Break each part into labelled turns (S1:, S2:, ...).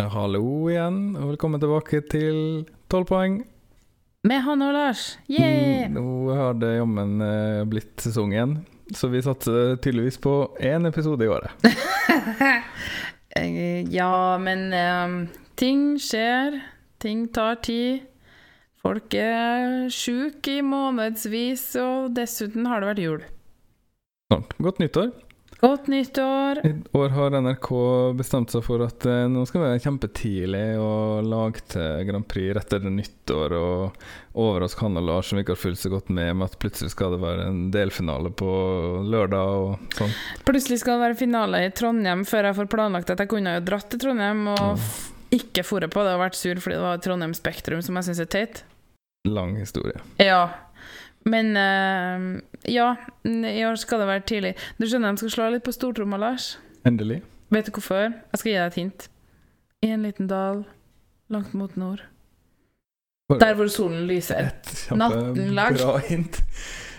S1: Eh, Hallo igjen, og velkommen tilbake til 12 poeng.
S2: Med Hanne og Lars. Yeah!
S1: Nå har det jammen eh, blitt sesong igjen, så vi satser tydeligvis på én episode i året.
S2: Eh, Ja, men ehm, ting skjer. Ting tar tid. Folk er sjuke i månedsvis, og dessuten har det vært jul.
S1: Snart. Godt nyttår.
S2: Godt nyttår.
S1: I år har NRK bestemt seg for at eh, nå skal vi være kjempetidlig og lage til Grand Prix rett etter nyttår og overraske Hanne og Lars, som ikke har fulgt så godt med, med at plutselig skal det være en delfinale på lørdag og sånn.
S2: Plutselig skal det være finale i Trondheim før jeg får planlagt at jeg kunne jo dratt til Trondheim og f ikke foret på det og vært sur fordi det var Trondheim Spektrum, som jeg syns er teit.
S1: Lang historie.
S2: Ja. Men eh, ja, i år skal det være tidlig. Du skjønner de skal slå litt på stortromma, Lars?
S1: Endelig.
S2: Vet du hvorfor? Jeg skal gi deg et hint. I en liten dal langt mot nord.
S1: Hvor-
S2: Der hvor solen lyser. Natten lang.
S1: Bra hint.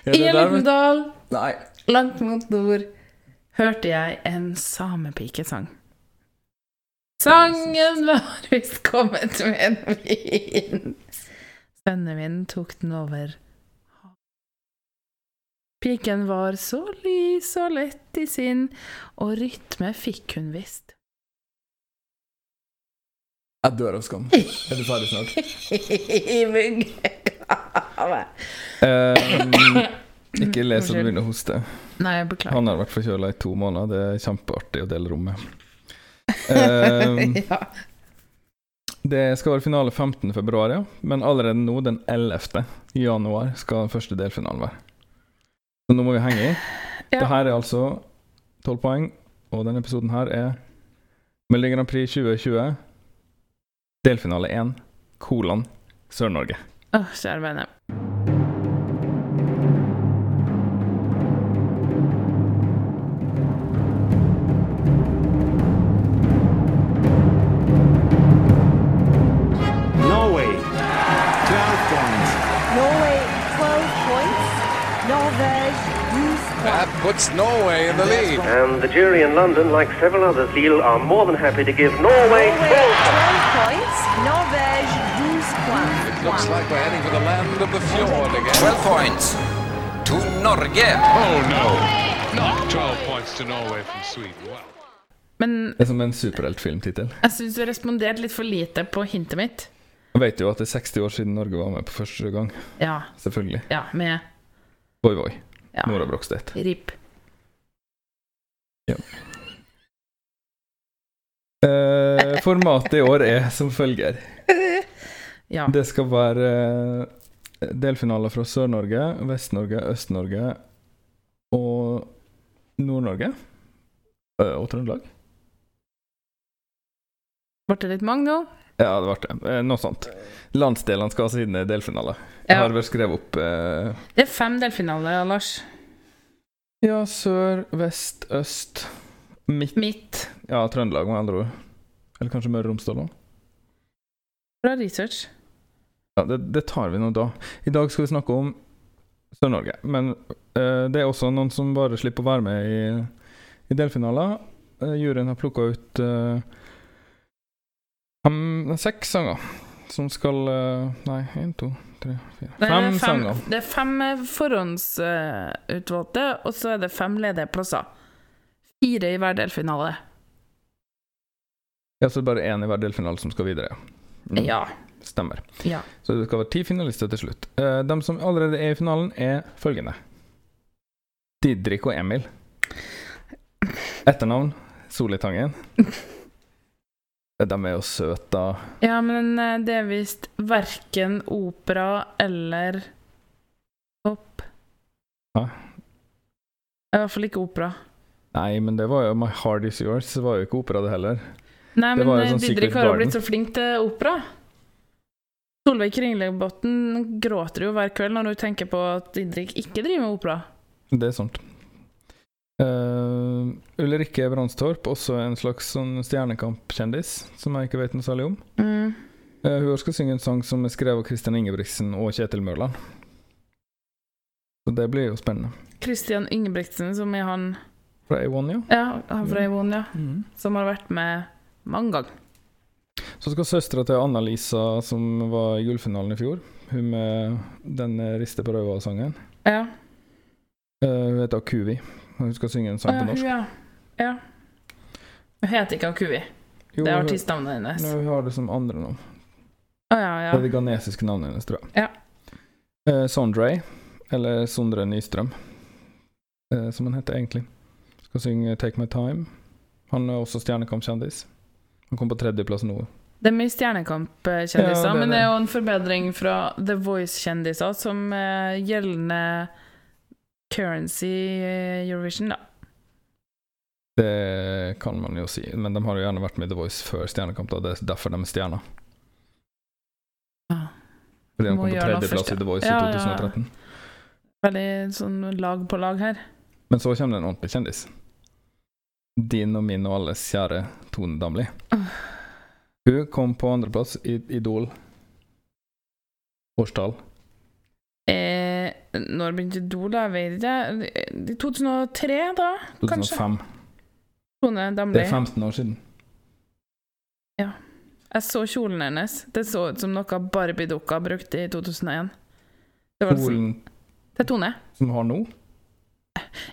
S1: Er
S2: I
S1: det der,
S2: en
S1: men-
S2: liten dal
S1: Nei.
S2: langt mot nord hørte jeg en samepikesang. Sangen var visst kommet med en vind. Sønnevinden tok den over. Piken var så lys og lett i sinn, og rytme fikk hun visst.
S1: Jeg dør av skam. Er du ferdig snart?
S2: i muggegave.
S1: Ehm, ikke les at du
S2: Unnskyld.
S1: begynner å hoste.
S2: Nei, jeg beklager.
S1: Han har vært forkjøla i to måneder. Det er kjempeartig å dele rommet. Ehm,
S2: ja.
S1: det skal være finale 15.2, ja. men allerede nå, den 11. januar, skal den første delfinalen være. Så nå må vi henge i.
S2: Ja.
S1: Det her er altså 12 poeng, og denne episoden her er Melodi Grand Prix 2020, delfinale 1, kolon Sør-Norge.
S2: Åh, kjære vene.
S3: Norway, 12 points.
S4: Norway 12 points, Norvège 12 points.
S5: That puts Norway in the lead.
S6: And the jury in London, like several others, Lille are more than happy to give Norway
S4: Norway 12 points, Norvège 12 points.
S5: Looks like we're heading for the land of the fjord again.
S7: 12 points to Norge.
S8: Oh no! Not 12 points to Norway from Sweden. Wow.
S2: Men
S1: Det er som en superheltfilmtittel.
S2: jeg syns du responderte litt for lite på hintet mitt.
S1: Jeg vet jo at det er 60 år siden Norge var med på første gang.
S2: Ja.
S1: Selvfølgelig.
S2: Ja, med
S1: Voi, voi.
S2: ja.
S1: Nora Brogstøt.
S2: RIP.
S1: Eh, formatet i år er som følger.
S2: Ja.
S1: Det skal være eh, delfinaler fra Sør-Norge, Vest-Norge, Øst-Norge og Nord-Norge. Eh, Og Trøndelag.
S2: Ble det litt mange nå?
S1: Ja, det ble det. Eh, Noe sånt. Landsdelene skal ha sine delfinaler. Jeg
S2: Ja.
S1: har vel skrevet opp eh,
S2: Det er fem delfinaler, Lars.
S1: Ja, sør, vest, øst, midt
S2: Mitt
S1: Ja, Trøndelag, med andre ord. Eller kanskje Møre og Romsdal òg.
S2: fra research.
S1: Ja, det, det tar vi nå da. I dag skal vi snakke om Sør-Norge. Men eh, det er også noen som bare slipper å være med i, i delfinaler. Eh, juryen har plukka ut eh, fem, seks sanger som skal eh, Nei, én, to, tre, fire
S2: Det er
S1: Fem,
S2: fem-
S1: sanger.
S2: Det er fem eh, forhåndsutvalgte, og så er det fem ledige plasser. Fire i hver delfinale.
S1: Ja, så det er bare én i hver delfinale som skal videre. Mm,
S2: Ja.
S1: Stemmer.
S2: Ja.
S1: Så det skal være ti finalister til slutt. Eh, de som allerede er i finalen, er følgende. Didrik og Emil. Etternavn Solitangen. Eh, De er jo søte, da.
S2: Ja, men eh, det er visst verken opera eller pop.
S1: Hæ?
S2: I hvert fall ikke opera.
S1: Nei, men det var jo My Heart Is Yours. Det var jo ikke opera, det heller.
S2: Nei,
S1: Det
S2: men
S1: var jo
S2: eh,
S1: sånn Secret
S2: Didrik har jo
S1: Garden.
S2: blitt så flink til opera. Solveig Kringlebotn gråter jo hver kveld når hun tenker på at Didrik ikke driver med opera.
S1: Det er sant. Eh, Ulrikke Brandstorp, også en slags sånn stjernekamp-kjendis, som jeg ikke vet noe særlig om. Eh, hun skal synge en sang som er skrevet av Christian Ingebrigtsen og Kjetil Mørland. Så det blir jo spennende.
S2: Christian Ingebrigtsen, som er han
S1: Fra A1, ja. Mm.
S2: Mm. Ja, han fra Ivon, ja. Som har vært med mange ganger.
S1: Så skal søstera til Anna-Lisa, som var i gullfinalen i fjor, hun med den eh, Riste på røva-sangen,
S2: Ja.
S1: eh, hun heter Akuvi. Hun skal synge en sang
S2: Å,
S1: på
S2: ja, hun,
S1: norsk.
S2: ja. ja. Hun heter ikke Akuvi.
S1: Jo,
S2: Det er
S1: hun-
S2: artistnavnet hennes.
S1: Nei, hun har det som andre navn.
S2: Å ja,
S1: Det er
S2: ja.
S1: det ghanesiske navnet hennes, tror jeg.
S2: Ja.
S1: Eh, Sondre, eller Sondre Nystrøm, eh, som han heter egentlig. Skal synge 'Take My Time'. Han er også Stjernekamp-kjendis. Han kom på tredjeplass nå.
S2: Det er mye Stjernekamp-kjendiser,
S1: Ja, det er
S2: men det er
S1: det.
S2: jo en forbedring fra The Voice-kjendiser som eh, gjeldende currency i eh, Eurovision, da.
S1: Det kan man jo si, men de har jo gjerne vært med i The Voice før Stjernekamp, da. Det er derfor de er stjerner.
S2: Ja.
S1: Fordi de
S2: Må
S1: kom på
S2: gjøre noe
S1: tredjeplass
S2: først,
S1: i The Voice i
S2: ja. Ja, ja, ja.
S1: 2013.
S2: Veldig sånn lag på lag her.
S1: Men så kommer det en ordentlig kjendis. Din og min og alles kjære Tone Damli. Hun kom på andreplass i Idol. Årstall.
S2: Eh, når begynte Idol, da? Jeg Vet ikke. I 2003, da? Kanskje.
S1: 2005.
S2: Tone
S1: Det
S2: Damli.
S1: er 15 år siden.
S2: Jeg så kjolen hennes. Det så ut som noe Barbie-dukka brukte i 2001. Det var liksom,
S1: Polen
S2: til Tone.
S1: som har nå.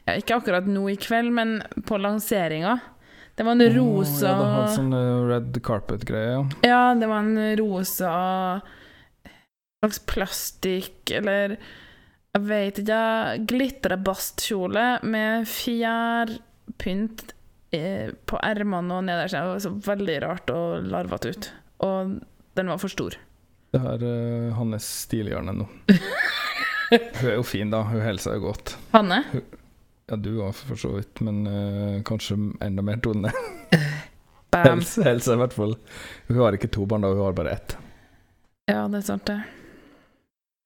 S2: Ja, ikke akkurat nå i kveld, men på lanseringa. Det var en
S1: Å,
S2: rosa
S1: Ja, det har en sånn eh, red carpet-greie. ja.
S2: Ja, det var en rosa slags plastikk, eller jeg vet ikke, glitrebastkjole med fjærpynt eh, på ermene og nederst. Det var så veldig rart og larvete ut. Og den var for stor.
S1: Det er eh, hans stilhjørne nå. Hun er jo fin, da. Hun holder seg jo godt.
S2: Hanne?
S1: Ja, du òg, for så vidt, men eh, kanskje enda mer Tone.
S2: Bam.
S1: Helse, helse, i hvert fall. Hun har ikke to barn, da. Hun har bare ett.
S2: Ja, det er sant, det.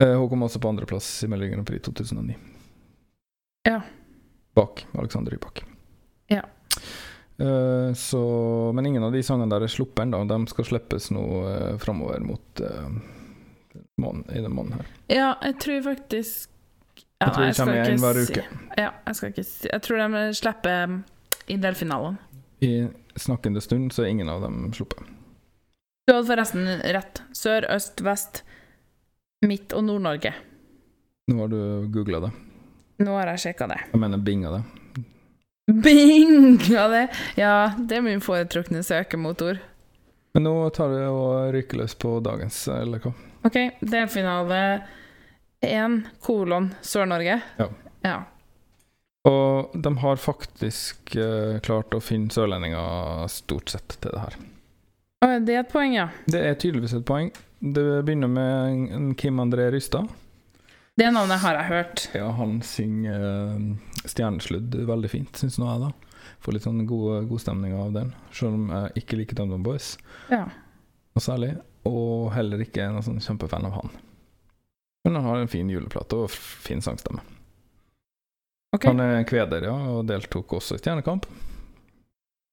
S1: Eh, Hun kom også på andreplass i Melodi Grand Prix 2009.
S2: Ja.
S1: Bak Alexander Rybak.
S2: Ja.
S1: Eh, så, men ingen av de sangene der er sluppet ennå. De skal slippes nå uh, framover mot eh, måneden, i den måneden her.
S2: Ja, jeg tror faktisk ja,
S1: Jeg tror det
S2: skal
S1: kommer
S2: ikke
S1: en hver
S2: si-
S1: uke.
S2: Ja, jeg skal ikke si Jeg tror de slipper um, i delfinalen.
S1: I snakkende stund så er ingen av dem sluppet.
S2: Du hadde forresten rett. Sør, øst, vest, midt og Nord-Norge.
S1: Nå har du googla det.
S2: Nå har jeg sjekka det.
S1: Jeg mener binga det.
S2: Binga det! Ja, det er min foretrukne søkemotor.
S1: Men nå tar vi og ryker løs på dagens, eh, eller hva?
S2: OK, delfinale én kolon Sør-Norge.
S1: Ja.
S2: ja.
S1: Og de har faktisk eh, klart å finne sørlendinger stort sett til det her.
S2: Å, det er et poeng, ja.
S1: Det er tydeligvis et poeng. Det begynner med en- en Kim André Rystad.
S2: Det navnet har jeg hørt.
S1: Ja, han synger eh, Stjernesludd veldig fint, syns nå jeg, da. Får litt sånn god, god stemning av den, selv om jeg ikke liker DumDum Boys
S2: Ja.
S1: noe særlig. Og heller ikke er noen sånn kjempefan av han. Men han har en fin juleplate og f- fin sangstemme.
S2: OK.
S1: Han er kveder, ja, og deltok også i Stjernekamp.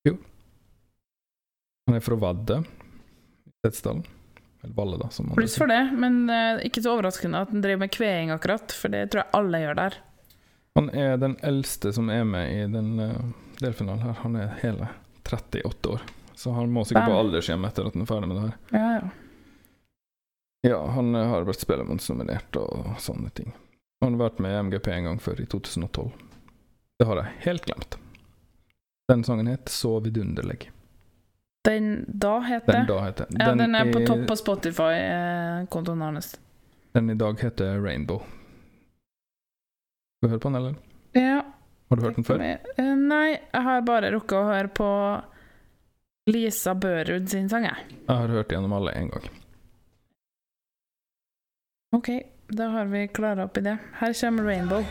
S1: Jo. Han er fra Vardø, Setesdalen. Eller Valle, da, som han
S2: Pluss for det, men eh, ikke så overraskende at den driver med kveing akkurat, for det tror jeg alle gjør der.
S1: Han er den eldste som er med i den eh, delfinalen her. Han er hele 38 år. Så han må sikkert på
S2: Bam.
S1: aldershjem etter at han er ferdig med det her.
S2: Ja, ja.
S1: Ja, han eh, har vært Spellemannsnominert og sånne ting. Han har vært med i MGP en gang før, i 2012. Det har jeg helt glemt. Den sangen het 'Så vidunderlig'.
S2: Den da heter
S1: Den da heter
S2: Ja, den, er på
S1: i-
S2: topp på Spotify-kontoen hans.
S1: Den i dag heter 'Rainbow'. Skal vi høre på den, eller?
S2: Ja.
S1: Har du hørt den før?
S2: Eh, Nei, jeg har bare rukket å høre på Lisa Børud sin sang, jeg.
S1: Jeg har hørt gjennom alle en gang.
S2: OK, da har vi klara opp i det. Her kommer Rainbow.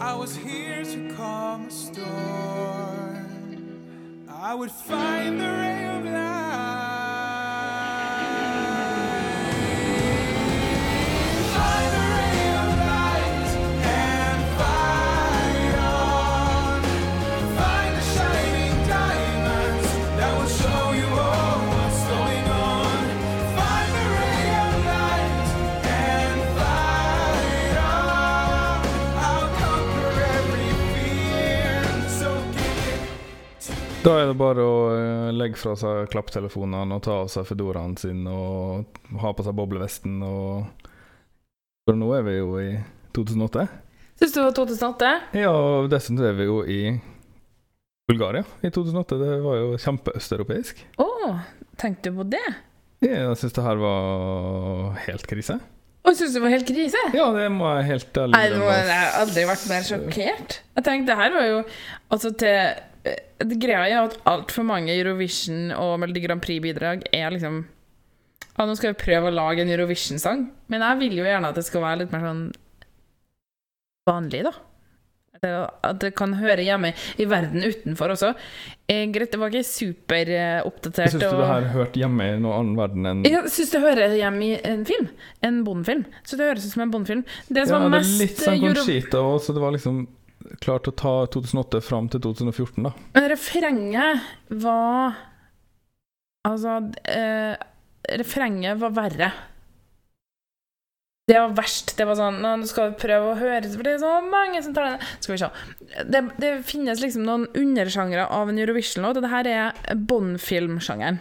S9: I was here to calm a storm. I would find the ray of light. Find the ray of light and find.
S1: Da er det bare å eh, legge fra seg klapptelefonene og ta av seg fedoraen sin og ha på seg boblevesten og For nå er vi jo i 2008.
S2: Syns du det var 2008?
S1: Ja, og dessuten er vi jo i Bulgaria i 2008. Det var jo kjempeøsteuropeisk.
S2: Å, tenkte du på det?
S1: Jeg syns det her var helt krise.
S2: Å, syns du det var helt krise?
S1: Ja, det må jeg helt ærlig
S2: Nei, nå
S1: innrømme.
S2: har jeg aldri vært mer sjokkert. Jeg tenkte, det her var jo Altså, til eh, det Greia er jo at altfor mange Eurovision- og Melodi Grand Prix-bidrag er liksom Ja, nå skal vi prøve å lage en Eurovision-sang, men jeg vil jo gjerne at det skal være litt mer sånn vanlig, da. Eller At det kan høre hjemme i verden utenfor også. Eh, greit, det var ikke superoppdatert.
S1: Jeg syns du det her hørte hjemme i noen annen verden enn
S2: Jeg syns det hører hjemme i en film. En Bond-film. Så det høres ut som en Bond-film. Det som
S1: Ja, det
S2: var
S1: er
S2: mest eh,
S1: litt sånn
S2: euro-
S1: Conchita òg, så det var liksom klart å ta 2008 fram til 2014, da.
S2: Men refrenget var Altså eh, Refrenget var verre. Det var verst. Det var sånn Nå nå skal vi prøve å høre For det er så mange som tar den Skal vi se. Det, det finnes liksom noen undersjangre av en Eurovision-låt, og det her er Bond-filmsjangeren.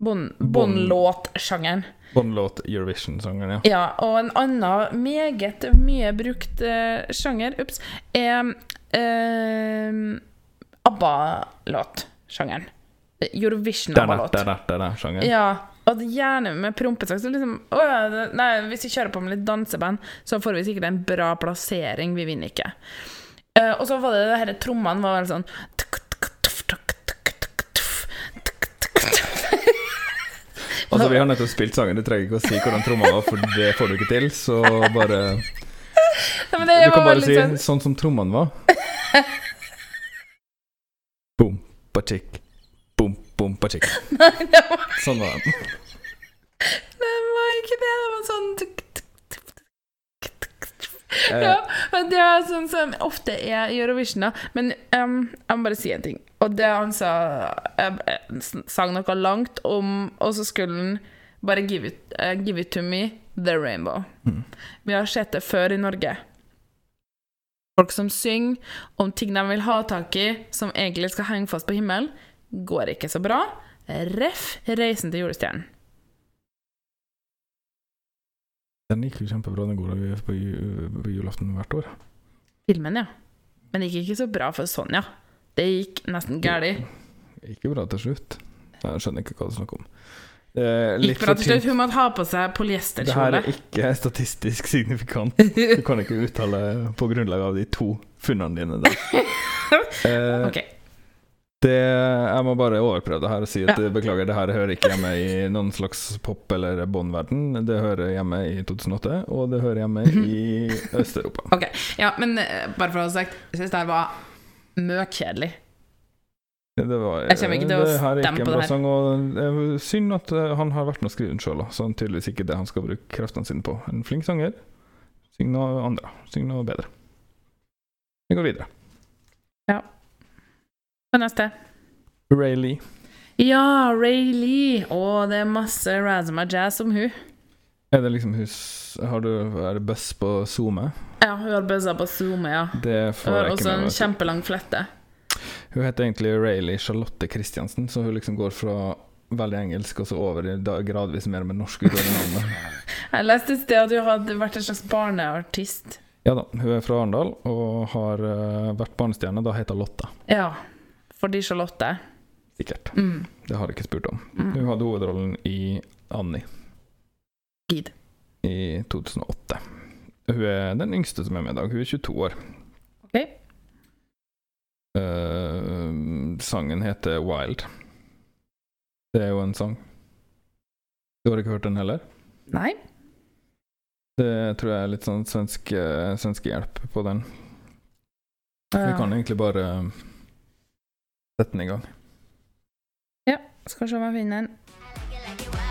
S2: Bond- Bond-låt-sjangeren.
S1: Båndlåt Eurovision-sangeren, Sånn ja.
S2: Ja, og en annen meget mye brukt eh, sjanger ups, er eh, ABBA-låt-sjangeren.
S1: Der, der,
S2: Eurovision-ABBA-låt.
S1: der, der, der, der sjangeren.
S2: Ja, og det gjerne med prompesaks. så Liksom, å ja, det- nei, hvis vi kjører på med litt danseband, så får vi sikkert en bra plassering. Vi vinner ikke. Eh, og så var det det her trommene var veldig sånn
S1: Altså, vi har nettopp spilt sangen, du trenger ikke å si hvordan tromma var, for det får du ikke til, så bare
S2: Nei, men det
S1: Du kan
S2: var
S1: bare
S2: veldig
S1: si
S2: sånn-
S1: 'sånn som trommene var'. Boom, patikk, boom, boom, patikk.
S2: det var
S1: Sånn var den.
S2: Det var ikke det, det var sånn tuk, tuk, tuk, tuk, tuk, tuk.
S1: Eh.
S2: Ja, men det er sånn som ofte er i Eurovision, da. Men em, jeg må bare si en ting. Og det han sa em, eh, sn- Sang noe langt om Og så skulle han bare give it, eh, give it to me, the rainbow. Vi har sett det før i Norge. Folk som synger om ting de vil ha tak i, som egentlig skal henge fast på himmelen, går ikke så bra. Ref. Reisen til julestjernen.
S1: Den gikk jo kjempebra, den går jo på ju- på julaften hvert år.
S2: Filmen, ja. Men det gikk ikke så bra for Sonja. Det gikk nesten galt.
S1: Gikk jo bra til slutt. Jeg skjønner ikke hva du snakker om. Det er litt
S2: Gikk bra
S1: for
S2: til slutt.
S1: tynt.
S2: Hun måtte ha på seg
S1: Det her
S2: polyesterkjole.
S1: er ikke statistisk signifikant. Du kan ikke uttale på grunnlag av de to funnene dine der. Eh,
S2: Ok.
S1: Det, jeg må bare overprøve det her og si at
S2: Ja.
S1: eh, beklager, det her hører ikke hjemme i noen slags pop- eller båndverden. Det hører hjemme i 2008, og det hører hjemme
S2: Mhm.
S1: i Øst-Europa.
S2: ok. Ja, men eh, bare for å ha sagt, jeg syns det her var møkkjedelig.
S1: Det, var,
S2: Jeg kommer ikke til å
S1: det her er
S2: stemme
S1: ikke en
S2: på
S1: bra
S2: det her.
S1: sang, og det er synd at eh, han har vært med å skrive den sjøl, så han er tydeligvis ikke det han skal bruke kreftene sine på. En flink sanger. Syng noe andre. Syng noe bedre. Vi går videre.
S2: Og neste.
S1: Ray Lee.
S2: Ja, Ray Lee. Å, det er masse Razama Jazz om hun.
S1: Er det liksom hus Har du Er det buss på SoMe?
S2: Ja, hun har bøssa på SoMe, ja.
S1: Det får
S2: Og
S1: jeg ikke
S2: også
S1: med
S2: en
S1: meg. altså.
S2: kjempelang flette.
S1: Hun heter egentlig Rayleigh Charlotte Christiansen, så hun liksom går fra veldig engelsk og så over i da, gradvis mer med norsk utover navnet.
S2: Jeg leste et sted at hun hadde vært en slags barneartist.
S1: Ja da, hun er fra Arendal og har eh, vært barnestjerne. Da heter hun Lotta,
S2: Ja. Fordi Charlotte.
S1: sikkert.
S2: Mm.
S1: Det har jeg ikke spurt om.
S2: Mm.
S1: Hun hadde hovedrollen i Annie
S2: Gid.
S1: i 2008. Hun er den yngste som er med i dag. Hun er 22 år.
S2: Ok.
S1: Eh, sangen heter Wild. Det er jo en sang. Du har ikke hørt den heller?
S2: Nei.
S1: Det tror jeg er litt sånn svensk, eh, svensk hjelp på den. Vi
S2: Ja.
S1: kan egentlig bare eh, sette den i gang.
S2: Ja, Eh, skal se om jeg finner den.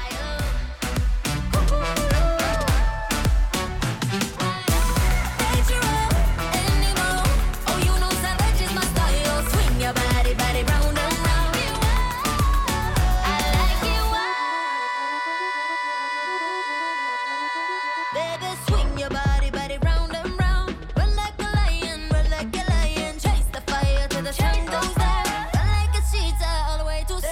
S10: Chase the fire till the sun goes down. Run like a she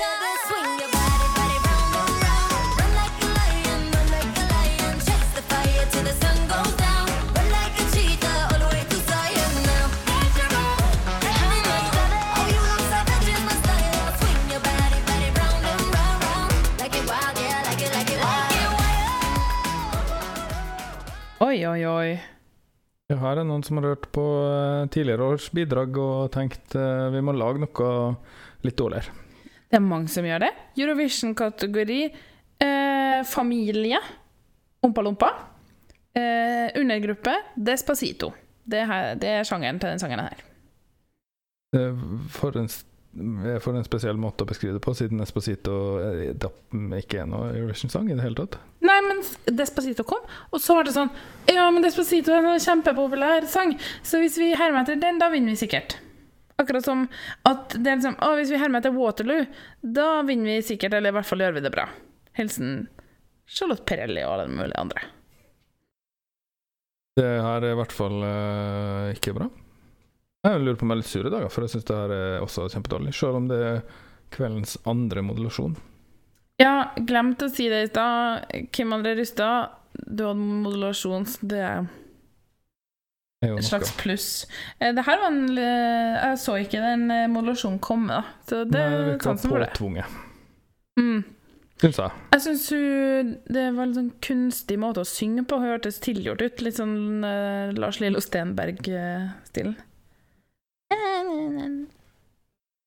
S10: Oh,
S2: oi, oi.
S1: Ja, her er noen som har hørt på eh, tidligere års bidrag og tenkt eh, vi må lage noe litt dårligere.
S2: Det er mange som gjør det. Eurovision-kategori eh, familie. Ompa-lompa. Eh, undergruppe Despacito. Det, her, det er sjangeren til den sangen her.
S1: Eh, For en, s- eh, for en spesiell måte å beskrive det på, siden Esposito eh, da- ikke er noe Eurovision-sang i det hele tatt.
S2: Nei, men Despacito kom, og så var det sånn Ja, men Despacito er en kjempepopulær sang, så hvis vi hermer etter den, da vinner vi sikkert. Akkurat som at det er liksom Å, hvis vi hermer etter Waterloo, da vinner vi sikkert, eller i hvert fall gjør vi det bra. Hilsen Charlotte Perelli og alle mulige andre.
S1: Det her er i hvert fall eh, ikke bra. Jeg lurer på om jeg er litt sur i dag, for jeg syns det her er også kjempedårlig. Selv om det er kveldens andre modulasjon.
S2: Ja, glemt å si det i stad. Kim André Rustad, du hadde modulasjon, så det er
S1: Er jo
S2: et
S1: noe.
S2: slags pluss. Eh, Det her var en eh, Jeg så ikke den eh, modulasjonen komme, da. Så det
S1: Nei, det
S2: er
S1: virker
S2: sånn som var det.
S1: påtvunget,
S2: Mm.
S1: syns jeg.
S2: Jeg syns hun Det var en sånn kunstig måte å synge på. Hun hørtes tilgjort ut. Litt sånn eh, Lars Lillo Stenberg-stilen.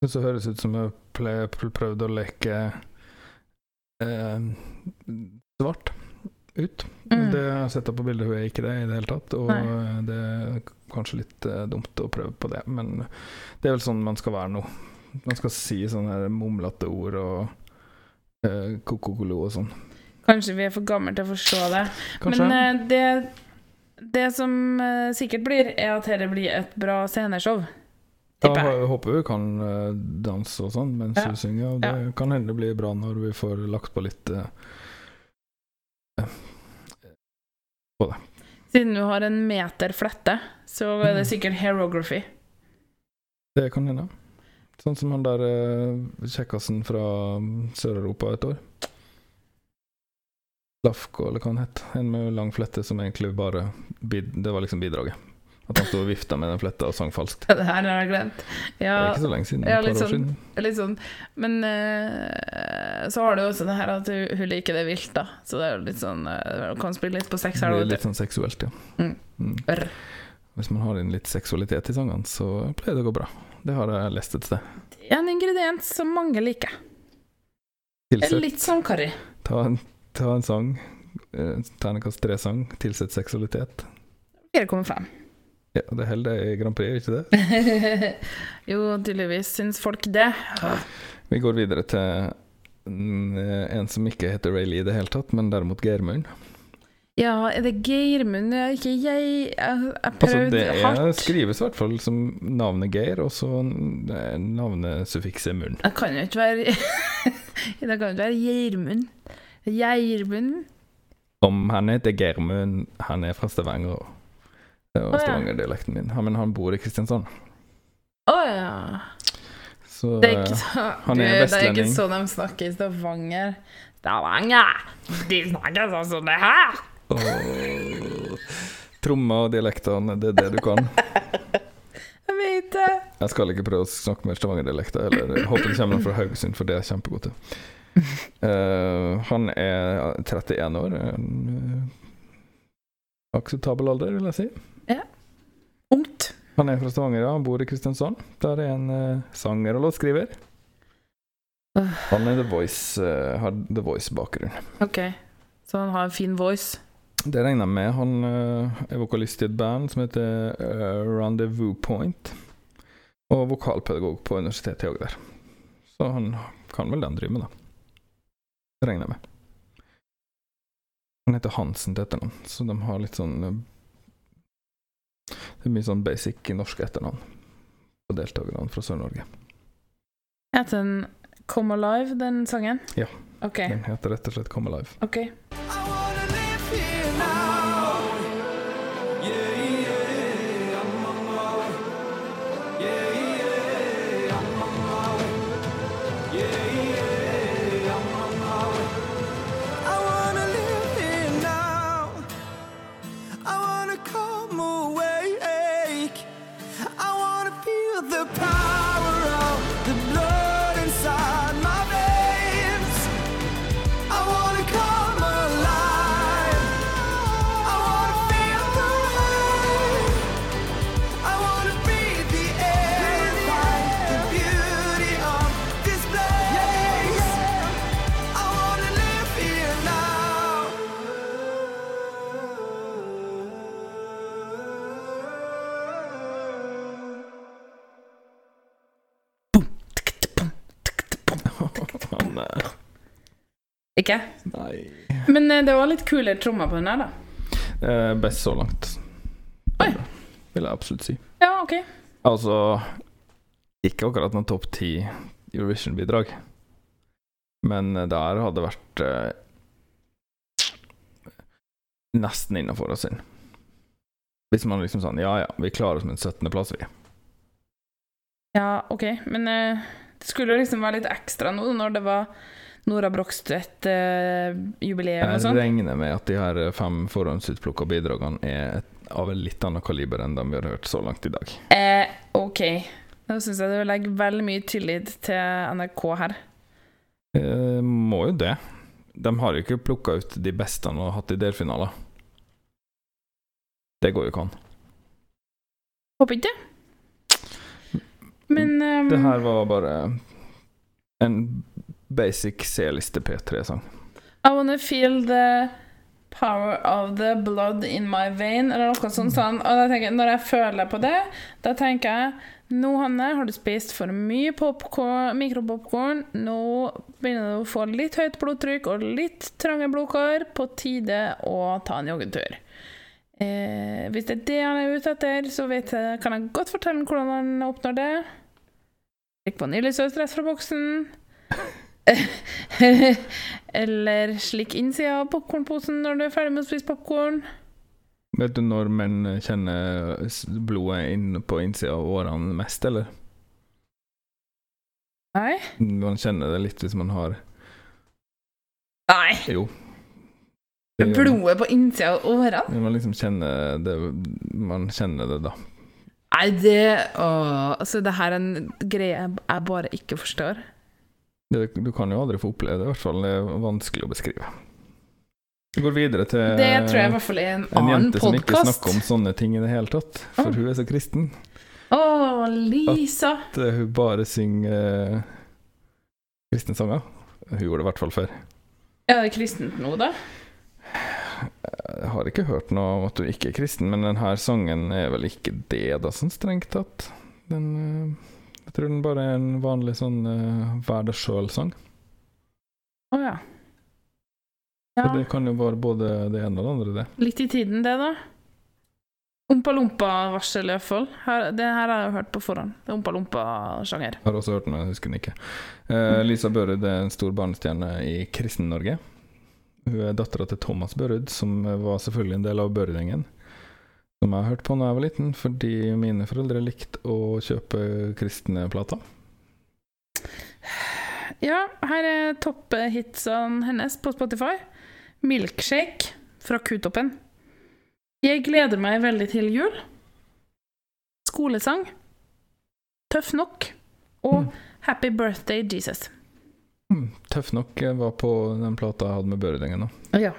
S1: Syns det høres ut som jeg ple- pr- prøvde å leke eh, svart ut.
S2: Mm.
S1: Det jeg har sett på bildet, hun er ikke det i det hele tatt. Og
S2: Nei.
S1: det er k- kanskje litt eh, dumt å prøve på det, men det er vel sånn man skal være nå. Man skal si sånne her mumlete ord og eh, ko-ko-ko-lo og sånn.
S2: Kanskje vi er for gamle til å forstå det.
S1: Kanskje.
S2: Men eh, det, det som eh, sikkert blir, er at dette blir et bra sceneshow.
S1: Da
S2: tipper jeg.
S1: hå- håper vi kan eh, danse og sånn mens
S2: Ja.
S1: vi synger, og det kan hende det blir bra når vi får lagt på litt eh,
S2: Siden du har en meter flette, så er
S1: Mm.
S2: det sikkert herography.
S1: Det kan hende. Sånn som han der eh, kjekkasen fra Sør-Europa et år. Lafko, eller hva han het. En med lang flette som egentlig bare bid, Det var liksom bidraget. At han sto og vifta med den fletta og sang falskt.
S2: Ja, det her har jeg glemt.
S1: Det
S2: Ja,
S1: er ikke så lenge siden.
S2: ja,
S1: et
S2: litt
S1: par år
S2: sånn.
S1: siden.
S2: litt sånn. Men eh, så har du også det her at hun, hun liker det vilt, da. Så det er jo litt sånn eh, Kan spille litt på sex
S1: Det
S2: her.
S1: blir
S2: da,
S1: litt sånn seksuelt, ja.
S2: Mm.
S1: Mm.
S2: Rr.
S1: Hvis man har inn litt seksualitet i sangene, så pleier det å gå bra. Det har jeg lest et sted.
S2: vet du. En ingrediens som mange liker.
S1: Tilsett
S2: Litt som karri.
S1: ta, en, ta en sang, eh, terningkast tre-sang, tilsett seksualitet.
S2: 4,5.
S1: Ja, det holder det i Grand Prix, gjør ikke det?
S2: jo, tydeligvis syns folk det.
S1: Ah. Vi går videre til en eh, en som ikke heter Ray Lee i det hele tatt, men derimot Geirmund.
S2: Ja, er det Geirmund? Ja, Ikke jeg. Jeg, jeg
S1: Altså,
S2: prøvde
S1: det er,
S2: hardt.
S1: skrives i hvert fall som navnet Geir, og så eh, navnesuffikset munn.
S2: Det kan jo ikke være Det kan jo ikke være Gjermund. Gjermund
S1: Om han heter Geirmund, han er fra Stavanger. og- Det var
S2: Å, ja.
S1: Stavanger-dialekten min. Han, men han bor i Kristiansand.
S2: Å ja.
S1: Så
S2: Det er
S1: eh,
S2: ikke så
S1: han
S2: du,
S1: er
S2: Det er ikke
S1: vestlending.
S2: sånn de snakker i Stavanger. Stavanger! De snakker sånn som det her!
S1: og- Trommer og dialektene, det er det du kan.
S2: Jeg vet det.
S1: Jeg skal ikke prøve å snakke mer Stavanger-dialekter, eller jeg håper det kommer noen fra Haugesund, for det er jeg kjempegod til. Eh, han er 31 år. En, eh, akseptabel alder, vil jeg si.
S2: Ungt.
S1: Han er fra Stavanger, ja. Han bor i Kristiansand. Der er en eh, sanger og låtskriver. Han er The Voice, eh, har The Voice-bakgrunn.
S2: OK. Så han har en fin voice.
S1: Det regner jeg med. Han eh, er vokalist i et band som heter eh, Rendezvous Point. Og vokalpedagog på universitetet i Agder. Så han kan vel den drive med, da. Det regner jeg med. Han heter Hansen til etternavn, så de har litt sånn eh, Det er mye sånn basic i norske etternavn på deltakerne fra Sør-Norge.
S2: Heter den Come Alive, den sangen?
S1: Ja.
S2: OK.
S1: Den heter rett og slett Come Alive.
S2: ok.
S9: I wanna live here now. Yeah, yeah, I'm on my way. Yeah, yeah, I'm on my way. Yeah, yeah, I'm on my way. I wanna live here now. I wanna come awake. I wanna feel the power of the blood inside my veins. I wanna come alive. I wanna feel the
S1: Faen, eh,
S2: Ikke?
S1: nei.
S2: Men eh, det var litt kulere trommer på den her, da.
S1: Eh, best så langt.
S2: Oi.
S1: Vil jeg absolutt si.
S2: Ja, OK.
S1: Altså Ikke akkurat noen topp ti Eurovision-bidrag, men eh, der hadde det vært eh, nesten innafor å synge. Hvis man liksom sånn Ja ja, vi klarer oss med en 17.-plass, vi.
S2: Ja, OK. Men eh, det skulle jo liksom være litt ekstra nå, når det var Nora Brogstvedt-jubileum og
S1: Jeg
S2: sånn.
S1: regner med at de her eh, fem forhåndsutplukka bidragene er av en litt annen kaliber enn de vi har hørt så langt i dag.
S2: Eh, OK. Nå syns jeg du legger vel mye tillit til NRK her.
S1: Eh, må jo det. De har jo ikke plukka ut de beste og hatt i delfinaler. Det går jo ikke an.
S2: Håper ikke det. Men ehm,
S1: Mm, Det her var bare en basic C-liste P3-sang.
S2: I wanna feel the power of the blood in my vein, eller noe sånt. Sånn. Og da tenker jeg, når jeg føler på det, da tenker jeg Nå, Hanne, har du spist for mye popcorn- mikropopkorn. Nå begynner du å få litt høyt blodtrykk og litt trange blodkår. På tide å ta en joggetur. Eh, hvis det er det han er ute etter, så vet jeg, kan jeg godt fortelle ham hvordan han oppnår det. Drikk vaniljesaus rett fra boksen. Eller slikk innsida av popkornposen når du er ferdig med å spise popkorn.
S1: Vet du når menn kjenner s- blodet inn på innsida av årene mest, eller?
S2: Nei.
S1: Man kjenner det litt hvis man har
S2: Nei.
S1: Jo. Det gjør man.
S2: Blodet på innsida av årene?
S1: Man liksom kjenner det Man kjenner det, da.
S2: Nei, det Åh. Altså, det her er en greie jeg jeg bare ikke forstår.
S1: Det, du kan jo aldri få oppleve det, i hvert fall. Det er vanskelig å beskrive. Vi går videre til
S2: Det tror jeg i hvert fall er en
S1: Eh, en
S2: annen
S1: jente som ikke
S2: podkast.
S1: snakker om sånne ting i det hele tatt, for
S2: Ah.
S1: hun er så kristen.
S2: Å, Lisa.
S1: at eh, hun bare synger eh, kristne sanger. Hun gjorde det i hvert fall før.
S2: Er det kristent nå, da?
S1: Jeg har ikke hørt noe om at hun ikke er kristen, men denne sangen er vel ikke det, da, sånn strengt tatt. Den, eh, jeg tror den bare er en vanlig sånn eh, vær deg sjøl-sang.
S2: Å ja.
S1: For
S2: Ja,
S1: Det kan jo være både det ene og det andre, det.
S2: litt i tiden, det, da. Ompa-lompa-varsel, iallfall. Det her har jeg hørt på forhånd. Det er Ompa-lompa-sjanger.
S1: Har også hørt den, jeg husker den ikke. Eh, Lisa Børud er en stor barnestjerne i Kristen-Norge. Hun er dattera til Thomas Børud, som var selvfølgelig en del av Børud-gjengen. Som jeg hørte på da jeg var liten, fordi mine foreldre likte å kjøpe kristne plater.
S2: Ja, her er topphitsene hennes på Spotify. 'Milkshake' fra Kutoppen. 'Jeg gleder meg veldig til jul'. 'Skolesang'. 'Tøff nok'. Og
S1: Mm.
S2: 'Happy Birthday Jesus'.
S1: Hmm, tøff nok eh, var på den plata jeg hadde med Børud-gjengen. da.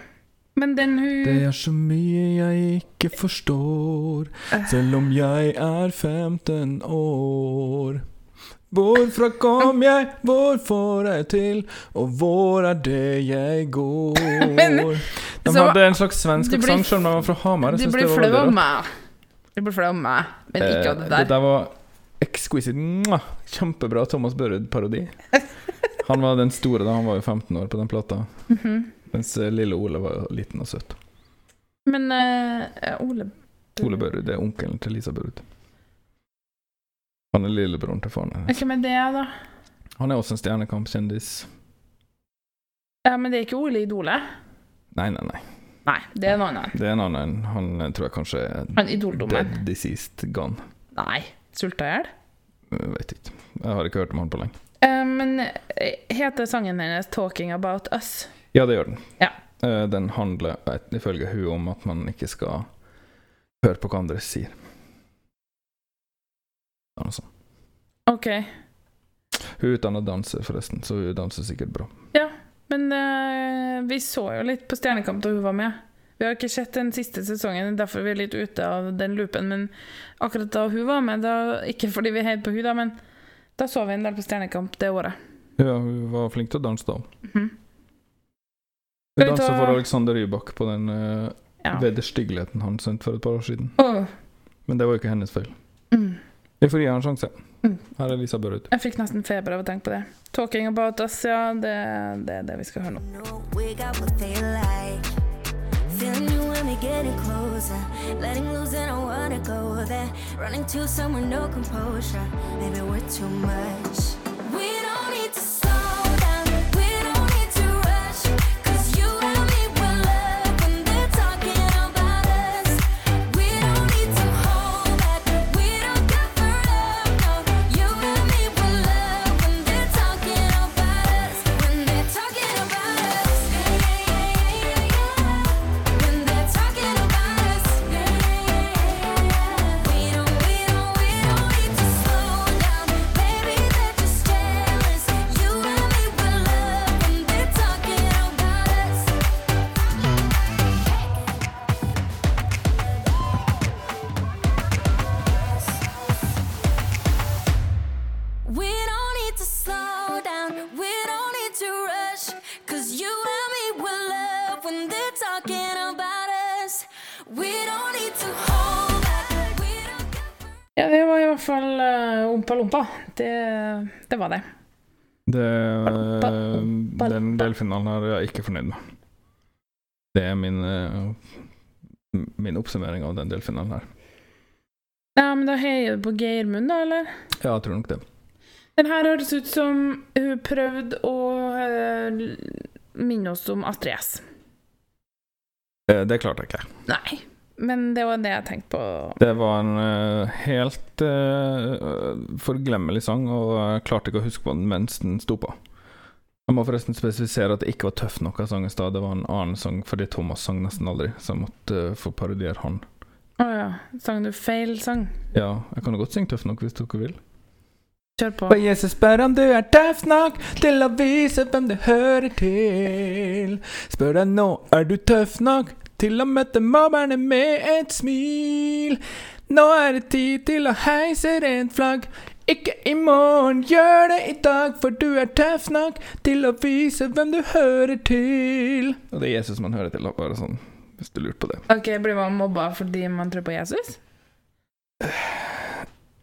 S2: Men den hun
S1: Det er så mye jeg ikke forstår, selv om jeg er 15 år. Hvorfra kom jeg, hvor får jeg til, og hvor er det jeg går?
S2: Men,
S1: De
S2: så-
S1: hadde en slags svensk
S2: Du blir-
S1: aksent, selv om de var fra Hamar. Jeg
S2: Du
S1: synes
S2: blir
S1: det var
S2: flau
S1: veldig
S2: av
S1: rart.
S2: meg. Du blir flau av meg, men ikke av det
S1: Eh,
S2: der.
S1: Det der var exquisite. mwah! Kjempebra Thomas Børud-parodi. Han var den store da, han var jo 15 år på den plata.
S2: Mhm.
S1: Mens eh, lille Ole var jo liten og søt.
S2: Men eh, Ole
S1: Ole Børud det er onkelen til Lisa Børud. Han er lillebroren til faren hennes.
S2: Hvem er det, da?
S1: Han er også en Stjernekamp-kjendis.
S2: Ja, Men det er ikke Ole Idolet?
S1: Nei, nei, nei.
S2: Nei, det er en annen.
S1: Det er en annen. enn- Han eh, tror jeg kanskje er
S2: Han idoldommeren.
S1: dead diseased gone.
S2: Nei. Sulta i hjel?
S1: Jeg vet ikke. Jeg har ikke hørt om han på lenge.
S2: Eh, Men eh, heter sangen hennes 'Talking About Us'?
S1: Ja, det gjør den.
S2: Ja.
S1: Eh, Den handler eh, ifølge hun om at man ikke skal høre på hva andre sier. Ja, noe sånt.
S2: OK.
S1: Hun er utdanna danser, forresten, så hun danser sikkert bra.
S2: Men eh, vi så jo litt på Stjernekamp da hun var med. Vi har ikke sett den siste sesongen, derfor vi er litt ute av den loopen. Men akkurat da hun var med, da, ikke fordi vi heier på hun da, men da så vi en del på Stjernekamp det året.
S1: Ja, hun var flink til å danse, da.
S2: Mhm.
S1: Hun
S2: Skal vi ta-
S1: dansa for Alexander Rybak på den eh,
S2: Ja.
S1: vederstyggeligheten han sendte for et par år siden.
S2: Åh,
S1: Men det var jo ikke hennes feil.
S2: mm.
S1: Vi får gi han en sjanse. Her er Lisa Børud.
S2: Jeg fikk nesten feber av å tenke på det. 'Talking about us', ja. Det, det er det vi skal høre nå.
S10: We got what they like. Feeling you when we getting closer. Letting loose and I wanna go there. Running to somewhere, no composure. Maybe we're too much. We don't need to slow down. We don't need to rush. Cause you and me will love when they're talking about us. We don't need to hold back. We don't got for love. No, you and me will love when they're talking about us. When they're talking about us. Yeah, yeah, yeah, yeah, yeah, yeah. When they're talking about us, we don't, we don't, we don't need to slow down. Baby, they're just jealous. You and me will love when they're talking about us. We don't need to slow down. We don't need to rush. Cause you and me will love when they're talking about us. We don't need to hold back. We don't get
S2: Ja, det var i hvert fall eh, Ompa Lompa. Det, det var det.
S1: Det, eh, den delfinalen her er jeg ikke fornøyd med. Det er min, eh, min oppsummering av den delfinalen her.
S2: Ja, men da heier du på Geirmund, da, eller?
S1: Ja, jeg tror nok det.
S2: Den her høres ut som hun prøvde å eh, minne oss om Astrid S.
S1: Eh, Det klarte jeg ikke.
S2: Nei. Men det var det jeg tenkte på.
S1: Det var en eh, helt eh, forglemmelig sang, og jeg klarte ikke å huske på den mens den sto på. Jeg må forresten spesifisere at det ikke var tøff nok av sang i stad. Det var en annen sang fordi Thomas sang nesten aldri, så jeg måtte eh, få parodiere han.
S2: Å ja. Sang du feil sang?
S1: Ja, jeg kan jo godt synge tøff nok hvis dere vil.
S2: Kjør på.
S1: Og Jesus spør om du er tøff nok til å vise hvem du hører til. Spør deg nå, er du tøff nok til å møte mobberne med et smil? Nå er det tid til å heise rent flagg. Ikke i morgen, gjør det i dag, for du er tøff nok til å vise hvem du hører til. Og det er Jesus man hører til, da, bare sånn, hvis du lurte på det.
S2: Ok, Blir man mobba fordi man tror på Jesus?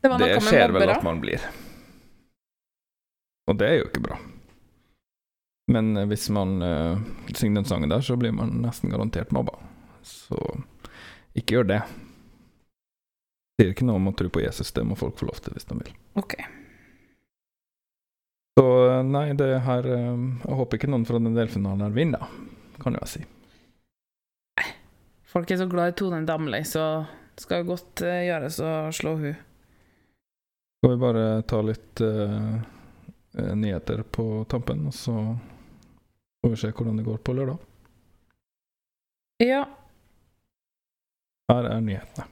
S2: Det var noe
S1: Det
S2: med
S1: skjer vel
S2: mobbere.
S1: at man blir. Og det er jo ikke bra. Men eh, hvis man eh, synger den sangen der, så blir man nesten garantert mobba. Så ikke gjør det. Sier ikke noe om å tro på Jesus, det må folk få lov til hvis de vil.
S2: Ok.
S1: Så eh, nei, det her eh, Jeg håper ikke noen fra den delfinalen her vinner, kan jo jeg si.
S2: Folk er så glad i Tone Damli, så det skal godt eh, gjøres å slå hun.
S1: Skal vi bare ta litt eh, eh, nyheter på tampen, og så får vi se hvordan det går på lørdag.
S2: Ja.
S1: Her er nyhetene.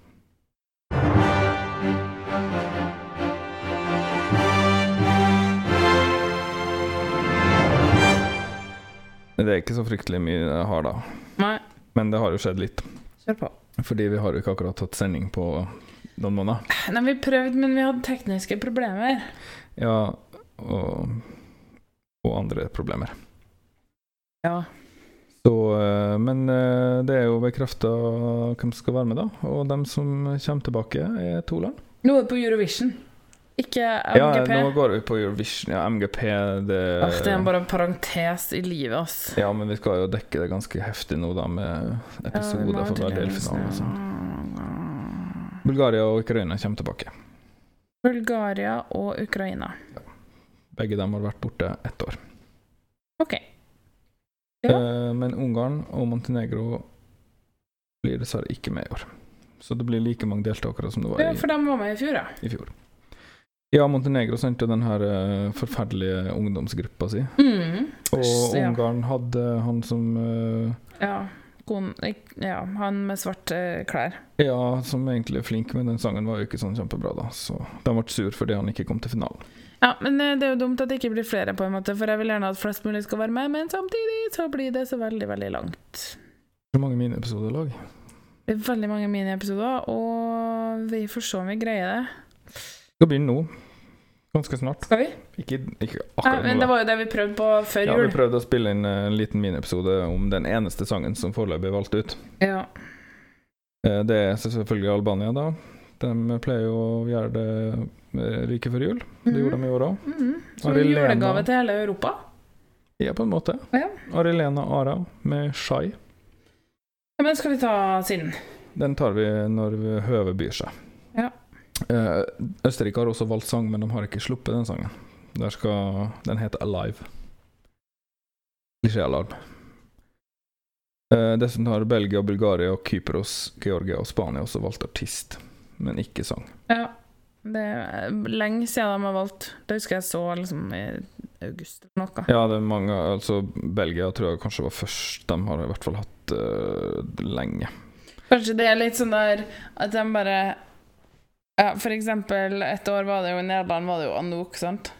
S1: Det er ikke så fryktelig mye jeg har da,
S2: Nei,
S1: men det har jo skjedd litt.
S2: kjør på.
S1: Fordi vi har jo ikke akkurat hatt sending på noen måneder.
S2: Nei, vi prøvde, men vi hadde tekniske problemer.
S1: Ja, og, og andre problemer.
S2: Ja.
S1: Så, eh, men eh, det er jo bekrefta hvem som skal være med, da. Og dem som kommer tilbake, er to land.
S2: Nå er det på Eurovision. Ikke MGP.
S1: Ja, nå eh, går vi på Eurovision. Ja, MGP, det
S2: Åh, Ah, det er bare en parentes i livet, ass.
S1: Ja, men vi skal jo dekke det ganske heftig nå, da, med episoder for hver altså. delfinale. og sånt. Bulgaria og Ukraina kommer tilbake.
S2: Bulgaria og Ukraina.
S1: Begge dem har vært borte ett år.
S2: Ok. Ja.
S1: Eh, Men Ungarn og Montenegro blir dessverre ikke med i år. Så det blir like mange deltakere som det var
S2: Ja,
S1: i,
S2: for de var med i fjor, ja.
S1: i fjor. Ja, Montenegro sendte jo den her eh, forferdelige ungdomsgruppa si.
S2: Mm.
S1: Og
S2: Ja.
S1: Ungarn hadde han som eh,
S2: Ja. Kon, ik- ja. Han med svarte klær.
S1: Ja, som egentlig er flink, men den sangen var jo ikke sånn kjempebra, da. Så de ble sur fordi han ikke kom til finalen.
S2: Ja, men eh, det er jo dumt at det ikke blir flere, på en måte, for jeg vil gjerne at flest mulig skal være med, men samtidig så blir det så veldig, veldig langt.
S1: Hvor mange mineepisoder lag?
S2: Det er veldig mange miniepisoder, og vi får se om vi greier det.
S1: Skal begynne nå. Ganske snart.
S2: Skal vi?
S1: Ikke, ikke
S2: Ja,
S1: akkurat
S2: men
S1: nå.
S2: det
S1: da.
S2: var jo det vi prøvde på før
S1: Ja,
S2: jul.
S1: vi prøvde å spille inn eh, en liten mineepisode om den eneste sangen som foreløpig er valgt ut.
S2: Ja.
S1: Eh, Det er selvfølgelig Albania, da. De pleier jo å gjøre det eh, like før jul. Det gjorde de i år òg.
S2: Mhm. Som en
S1: Arilena.
S2: julegave til hele Europa.
S1: Ja, på en måte.
S2: Ja.
S1: Arilena Ara med 'Shy'.
S2: Ja, men skal vi ta sin?
S1: Den tar vi når vi høvet byr seg.
S2: Ja.
S1: Eh, Østerrike har også valgt sang, men de har ikke sluppet den sangen. Der skal, den heter 'Alive'. Klisjéalarm. Eh, dessuten har Belgia, Bulgaria, Kypros, Georgia og Spania også valgt artist, men ikke sang.
S2: Ja. Det er lenge siden de har valgt. Det husker jeg så liksom i august eller noe.
S1: Ja, det er mange Altså, Belgia tror jeg kanskje var først. De har i hvert fall hatt eh, lenge.
S2: Kanskje det er litt sånn der at de bare ja, For eksempel, et år var det jo i Nederland var det jo Anouk, sant?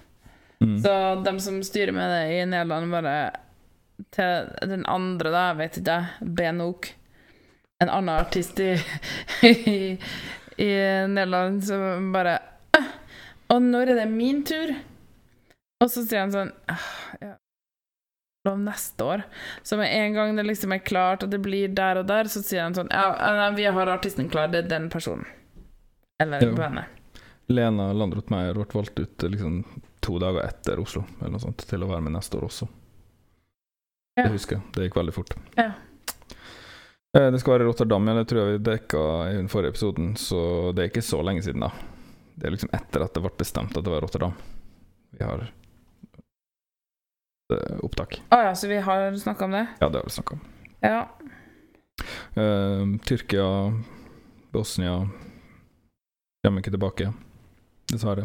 S1: Mm.
S2: Så de som styrer med det i Nederland, bare Til den andre, da, jeg vet ikke, Benouk, en annen artist i, i, i Nederland, som bare «Ah, Og når er det min tur? Og så sier han sånn «Ah, ja, lov neste år. Så med en gang det liksom er klart at det blir der og der, så sier han sånn Ja, nei, vi har artisten klar, det er den personen. Eller
S1: Ja.
S2: bandet.
S1: Lena Landroth Meyer ble valgt ut eh, liksom, to dager etter Oslo eller noe sånt, til å være med neste år også.
S2: Ja.
S1: Det husker jeg. Det gikk veldig fort.
S2: Ja.
S1: Eh, Det skal være i Rotterdam, ja. Det tror jeg vi dekka i den forrige episoden, så det er ikke så lenge siden, da. Det er liksom etter at det ble bestemt at det var Rotterdam. Vi har eh, opptak.
S2: Å ja, så vi har snakka om det?
S1: Ja, det har vi snakka om.
S2: Ja.
S1: Eh, Tyrkia, Bosnia Kommer ikke tilbake, dessverre.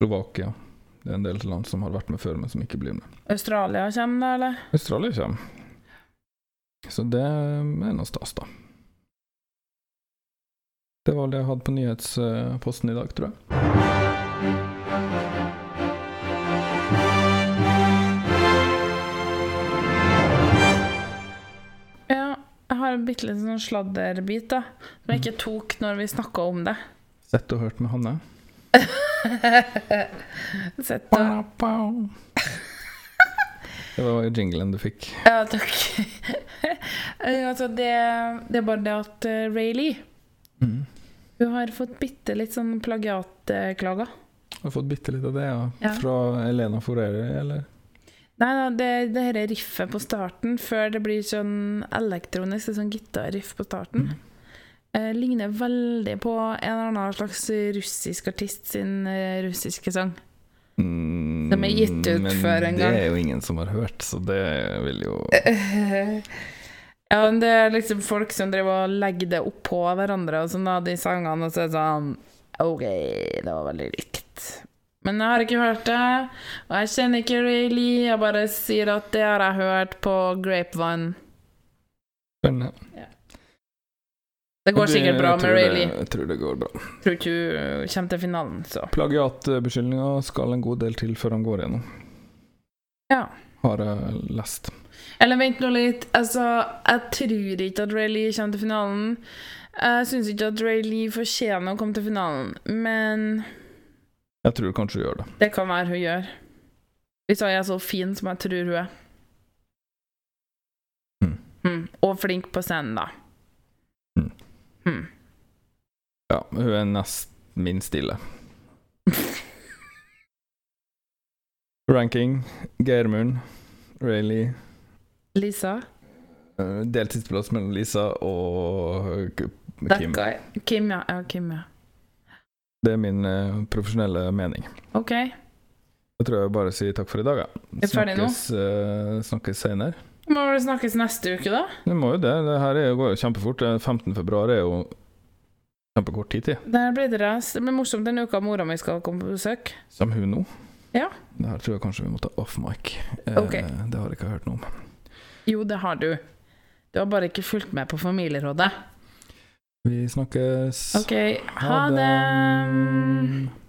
S1: Slovakia. Det er en del land som har vært med før, men som ikke blir med.
S2: Australia kommer, da, eller?
S1: Australia kommer. Så det er noe stas, da. Det var det jeg hadde på nyhetsposten i dag, tror jeg.
S2: Ja. Jeg har en bitte liten sånn sladderbit, da, som jeg
S1: Mm.
S2: ikke tok når vi snakka om det.
S1: Sett og hørt med Hanne.
S2: Sett og
S1: Det var jinglen du fikk.
S2: Ja, takk. Eh, altså, det, det er bare det at eh, Ray Lee
S1: Mm.
S2: Hun har fått bitte litt sånn plagiatklager.
S1: Har fått bitte litt av det, ja.
S2: Ja.
S1: Fra Elena Forere, eller?
S2: Nei da, det, det her er riffet på starten, før det blir sånn elektronisk, det er sånn gitarriff på starten. Eh, ligner veldig på en eller annen slags russisk artist sin eh, russiske sang.
S1: Mm,
S2: Som er gitt ut før en gang. Eh,
S1: Men det er jo ingen som har hørt, så det vil jo
S2: Ja, men det er liksom folk som driver og legger det oppå hverandre, og sånn da, de sangene, og så er det sånn OK, det var veldig likt. Men jeg har ikke hørt det, og jeg kjenner ikke Ray Lee, jeg bare sier at det har jeg hørt på Grapevine.
S1: Spennende.
S2: Det går
S1: Det-
S2: sikkert bra
S1: jeg
S2: med
S1: tror
S2: Ray
S1: det-
S2: Lee.
S1: Jeg tror det går bra.
S2: Tror ikke hun kommer til finalen, så
S1: Plagiatbeskyldninger skal en god del til før han går gjennom,
S2: Ja.
S1: har jeg lest.
S2: Eller vent nå litt. Altså, jeg tror ikke at Ray Lee kommer til finalen. Jeg syns ikke at Ray Lee fortjener å komme til finalen, men
S1: Jeg tror kanskje hun gjør det.
S2: det kan være hun gjør. Hvis hun er så fin som jeg tror hun er.
S1: Mm.
S2: Mm. Og flink på scenen, da.
S1: Mm.
S2: Mm.
S1: Ja, hun er nest minst ille. Ranking Geirmund, Rayleigh
S2: Lisa?
S1: eh, Delt sisteplass mellom Lisa og eh, Kim.
S2: That guy. Kim, ja. ja. Kim, ja.
S1: Det er min eh, profesjonelle mening.
S2: OK.
S1: Da tror jeg jeg bare sier takk for i dag, ja.
S2: Er vi ferdig nå?
S1: Snakkes, eh, snakkes senere.
S2: Må vel snakkes neste uke, da?
S1: Det må jo det. Det her er jo, går jo kjempefort. Eh, 15. februar er jo kjempekort tid til.
S2: Der blir det ras. Det blir morsomt den uka mora mi skal komme på besøk.
S1: Kommer hun nå?
S2: Ja.
S1: Det her tror jeg kanskje vi må ta off mic. Eh,
S2: Ok.
S1: Det har jeg ikke hørt noe om.
S2: Jo, det har du. Du har bare ikke fulgt med på familierådet.
S1: Vi snakkes.
S2: OK, ha
S1: Ha
S2: det.
S1: det.